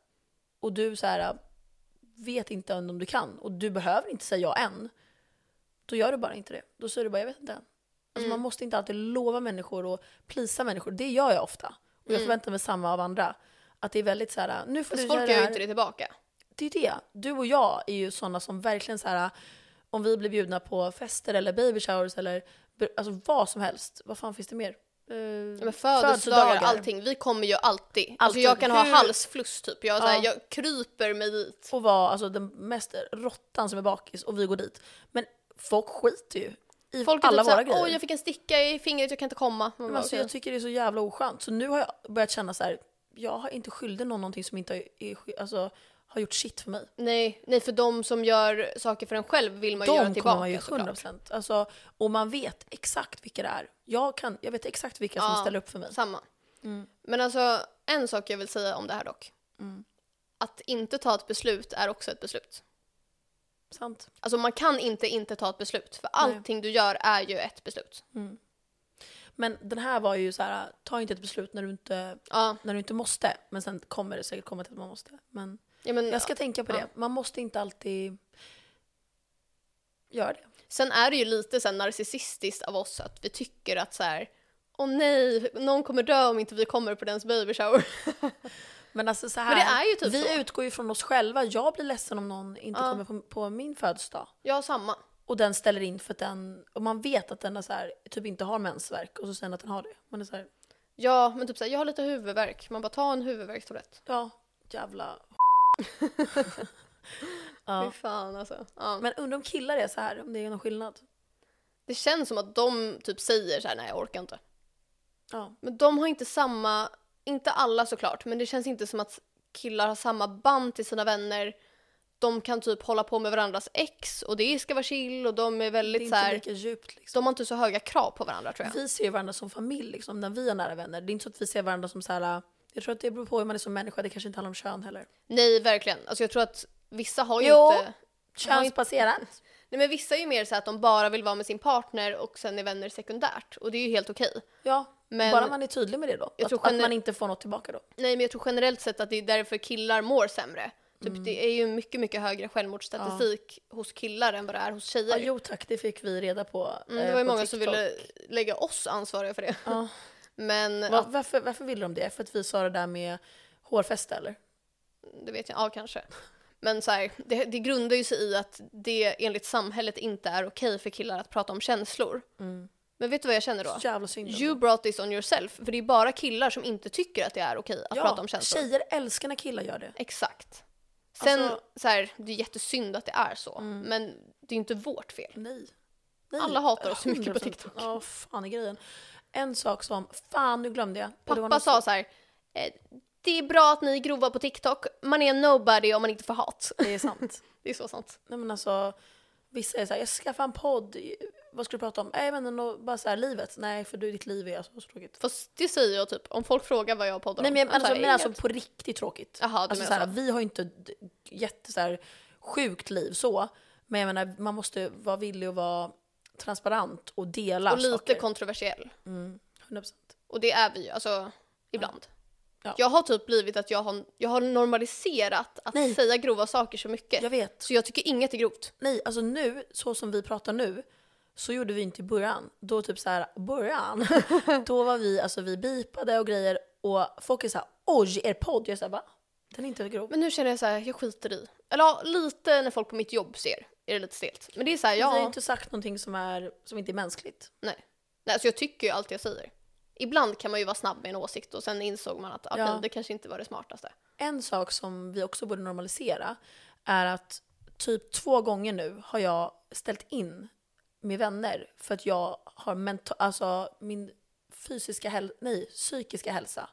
Och du så här vet inte än om du kan och du behöver inte säga ja än. Då gör du bara inte det. Då säger du bara jag vet inte än. Alltså Mm. man måste inte alltid lova människor och plisa människor. Det gör jag ofta. Och jag förväntar mig samma av andra. Att det är väldigt så här, nu får Mm. Fast du folk göra gör det ju här. inte det tillbaka. Det är det. Du och jag är ju sådana som verkligen så här. om vi blir bjudna på fester eller baby showers eller b- alltså vad som helst. Vad fan finns det mer? Eh, Ja, Men födelsedagar, allting. Vi kommer ju alltid. Alltså Alltid. jag kan ha Hur- halsfluss typ. Jag, så här, Ja. jag kryper mig dit. Och vara alltså, den mest råttan som är bakis och vi går dit. Men folk skiter ju i Folk är alla typ våra såhär, grejer. åh jag fick en sticka i fingret, jag kan inte komma. Man Men bara, alltså, okej. Jag tycker det är så jävla oskönt. Så nu har jag börjat känna så här. jag har inte skyldig någon någonting som inte har, är, sky- alltså, har gjort shit för mig. nej, nej, för de som gör saker för en själv vill man ju göra De kommer man ju tillbaka 100 såklart. procent. Alltså, och man vet exakt vilka det är. Jag, kan, jag vet exakt vilka Ja. som ställer upp för mig. Samma. Mm. Men alltså, en sak jag vill säga om det här dock. Att inte ta ett beslut är också ett beslut. Sant. Alltså man kan inte inte ta ett beslut, för allting du gör är ju ett beslut. Men den här var ju så här, ta inte ett beslut när du inte, Ja, när du inte måste. Men sen kommer det säkert komma till att man måste. Men ja men jag ska tänka på Ja. det. Man måste inte alltid göra det. Sen är det ju lite så här narcissistiskt av oss att vi tycker att så här, åh nej, någon kommer dö om inte vi kommer på dens baby shower. Men alltså så här, Men det är ju typ vi så. utgår ju från oss själva. Jag blir ledsen om någon inte Ja. kommer på, på min födelsedag. Jag har samma. Och den ställer in för att den, och man vet att den är så här, typ inte har mensvärk och så säger den att den har det. Man är så här, Ja, men typ såhär, jag har lite huvudvärk. Man bara, ta en huvudvärkstablett. ja, jävla Fy ja. fan alltså. Ja. Men undrar om killar är så här, om det är någon skillnad. Det känns som att de typ säger såhär, nej jag orkar inte. Ja. Men de har inte samma, inte alla såklart, men det känns inte som att killar har samma band till sina vänner. De kan typ hålla på med varandras ex och det ska vara chill och de är Det är väldigt inte såhär, lika djupt liksom. de har inte så höga krav på varandra tror jag. Vi ser ju varandra som familj liksom, när vi är nära vänner. Det är inte så att vi ser varandra som så här, jag tror att det beror på hur man är som människa, det kanske inte handlar om kön heller. Nej, verkligen. Alltså jag tror att vissa har ju Jo. inte... Könsbaserat. Nej men vissa är ju mer så att de bara vill vara med sin partner och sen är vänner sekundärt. Och det är ju helt okej. Ja, Men- bara man är tydlig med det då. Jag Att, tror att gener- man inte får något tillbaka då. Nej men jag tror generellt sett att det är därför killar mår sämre. Typ Mm. det är ju mycket, mycket högre självmordsstatistik hos killar än vad det är hos tjejer. Ja, jo tack, det fick vi reda på. mm, det eh, var ju på många som TikTok. ville lägga oss ansvariga för det. Ja. Men Va- ja, varför, varför ville de det? För att vi sa det där med hårfäste eller? det vet jag, ja kanske. Men så här, det, det grundar ju sig i att det enligt samhället inte är okej för killar att prata om känslor. Mm. Men vet du vad jag känner då? Så jävla synd om You brought this on yourself. För det är bara killar som inte tycker att det är okej att Ja, prata om känslor. tjejer älskar när killar gör det. Exakt. Sen, Alltså- Mm. så här, det är jättesynd att det är så. Men det är ju inte vårt fel. Nej. Nej. Alla hatar oss så mycket på 100%. TikTok. Ja, fan är grejen. En sak som, fan nu glömde jag. Och det var Pappa något- sa så här, eh, det är bra att ni är grova på TikTok. Man är en nobody om man inte får hat. Det är sant. Det är så sant. Nej men alltså, vissa är såhär, jag ska skaffa en podd, vad ska du prata om? Nej men nå- bara såhär, livet. Nej för du, ditt liv är alltså så tråkigt. Fast det säger jag typ, om folk frågar vad jag poddar Nej om. men, jag- jag typ alltså, bara, men "Inget." alltså på riktigt tråkigt. Jaha, du alltså, menar såhär, så. vi har ju inte d- jätte såhär, sjukt liv så. Men jag menar, man måste vara villig och vara transparent och dela Och lite saker. Mm, kontroversiell. 100%. Och det är vi ju, alltså ibland. Ja. Jag har typ blivit att jag har, jag har normaliserat att Nej. säga grova saker så mycket. Jag vet. Så jag tycker inget är grovt. Nej, alltså nu, så som vi pratar nu, så gjorde vi inte i början. Då typ så här, början, då var vi, alltså vi bipade och grejer och folk är så här, oj, er podd. Jag säger va? Den är inte grov. Men nu känner jag så här, jag skiter i. Eller ja, lite när folk på mitt jobb ser är det lite stelt. Men det är så här, Vi har ja, ju typ- inte sagt någonting som, är, som inte är mänskligt. nej. Nej, alltså jag tycker ju allt jag säger. Ibland kan man ju vara snabb med en åsikt och sen insåg man att okej, Ja. det kanske inte var det smartaste. En sak som vi också borde normalisera är att typ två gånger nu har jag ställt in med vänner för att jag har menta- alltså min fysiska häl- nej, psykiska hälsa.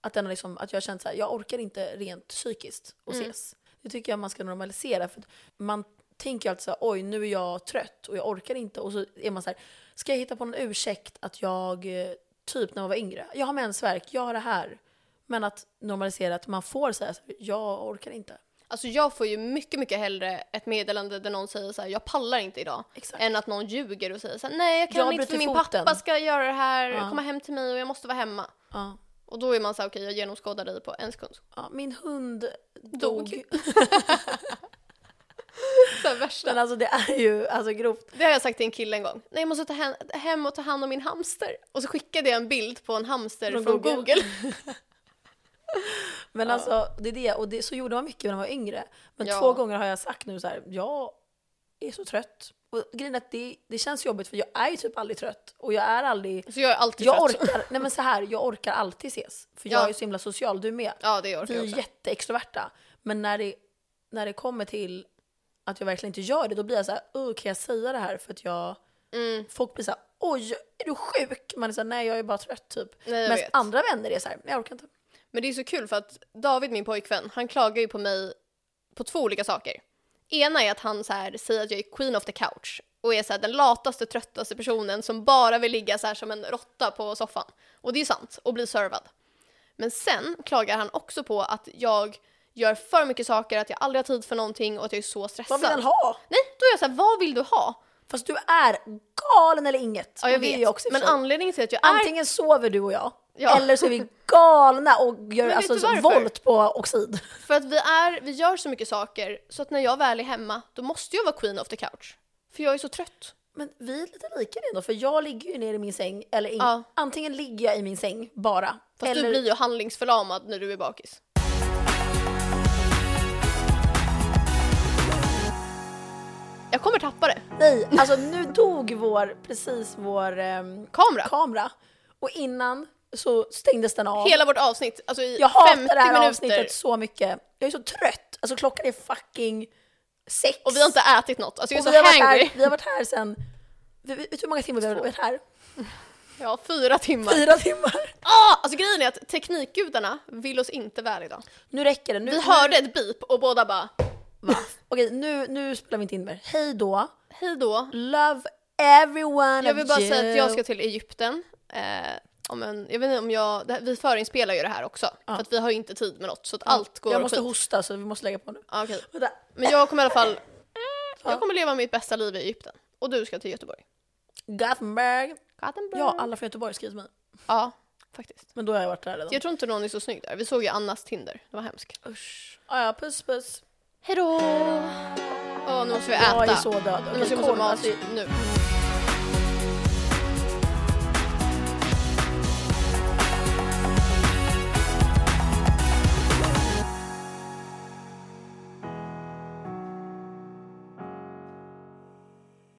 Att, den har liksom, att jag har känt så här, jag orkar inte rent psykiskt och ses. Det tycker jag man ska normalisera för att man tänker ju alltid så här, oj nu är jag trött och jag orkar inte och så är man så här, ska jag hitta på någon ursäkt att jag eh, typ när man var yngre, jag har mensvärk, jag har det här. Men att normalisera att man får säga så här, jag orkar inte. Alltså jag får ju mycket, mycket hellre ett meddelande där någon säger så här, jag pallar inte idag. Exakt. Än att någon ljuger och säger så här, nej jag kan Jag inte för bryter min foten. pappa ska göra det här, Ja. komma hem till mig och jag måste vara hemma. Ja. Och Och då är man så här, okej jag genomskådar dig på en sekund. Ja, min hund dog. Dog. Så här, värsta. Men alltså det är ju alltså, grovt. Det har jag sagt till en kille en gång. Nej, jag måste ta hem, hem och ta hand om min hamster. Och så skickade jag en bild på en hamster från, Från Google. Google. Men Ja. alltså det är det, och det, så gjorde man mycket när man var yngre. Men Ja. två gånger har jag sagt nu så här, jag är så trött. Och grejen är att det, det känns jobbigt för jag är ju typ aldrig trött. Och jag är aldrig, Så jag är alltid jag trött. orkar, nej men så här, jag orkar alltid ses. För Ja. jag är ju så himla social, du med. Ja, det orkar Vi är jag också. jätteextroverta. Men när det, när det kommer till att jag verkligen inte gör det, då blir jag så här, "Ugh, kan jag säga det här? För att jag, Mm. folk blir så här, oj, är du sjuk? Man är så här, nej jag är bara trött typ. Nej, jag Men vet. andra vänner är så här, jag orkar inte. Men det är så kul för att David, min pojkvän, han klagar ju på mig på två olika saker. Ena är att han så här, säger att jag är queen of the couch och är så här, den lataste, tröttaste personen som bara vill ligga så här som en råtta på soffan. Och det är sant, och bli servad. Men sen klagar han också på att jag gör för mycket saker, att jag aldrig har tid för någonting och att jag är så stressad. Vad vill han ha? Nej, då är jag så här, vad vill du ha? Fast du är galen eller inget. Ja, jag Och det är vet. jag också i och men för sig. anledningen till att jag är... Antingen sover du och jag, Ja. eller så är vi galna och gör vet alltså du varför? volt på oxid. För att vi, är, vi gör så mycket saker så att när jag väl är hemma, då måste jag vara queen of the couch. För jag är så trött. Men vi är lite lika ändå, för jag ligger ju ner i min säng, eller in, Ja. antingen ligger jag i min säng bara, Fast eller du blir ju handlingsförlamad när du är bakis. Jag kommer tappa det. nej. Alltså nu dog vår, precis vår ehm, Kamera. kamera. Och innan så stängdes den av. Hela vårt avsnitt, alltså i jag hatar 50 det här minuter. avsnittet så mycket. Jag är så trött. Alltså klockan är fucking sex. Och vi har inte ätit något. Alltså jag Och är vi, så har varit hangry. här, vi har varit här sen, vi- vet du hur många timmar vi har varit här? Ja, fyra timmar. Fyra timmar. Ah, alltså grejen är att teknikgudarna vill oss inte väl idag. Nu räcker det. Nu, Vi hörde ett beep och båda bara Okej, nu, nu spelar vi inte in mer. Hej då. hej då. Love everyone Jag vill of bara you. säga att jag ska till Egypten. Eh, om en, jag vet inte om jag, det, här- vi förinspelar ju det här också. För att vi har ju inte tid med något så att allt går Jag måste skit. hosta så vi måste lägga på nu. Ja, okej. Vänta. Men jag kommer i alla fall, Ja. jag kommer leva mitt bästa liv i Egypten. Och du ska till Göteborg. Gothenburg. Gothenburg. Ja, Ja, alla från Göteborg skriver mig. faktiskt. Men då har jag varit där redan. Jag tror inte någon är så snygg där. Vi såg ju Annas Tinder, det var hemskt. Usch. Ah, ja, puss puss. Hejdå! Åh, nu måste vi äta. Jag är så död. Nu Okej, måste vi kolla, måste mat alltså, nu.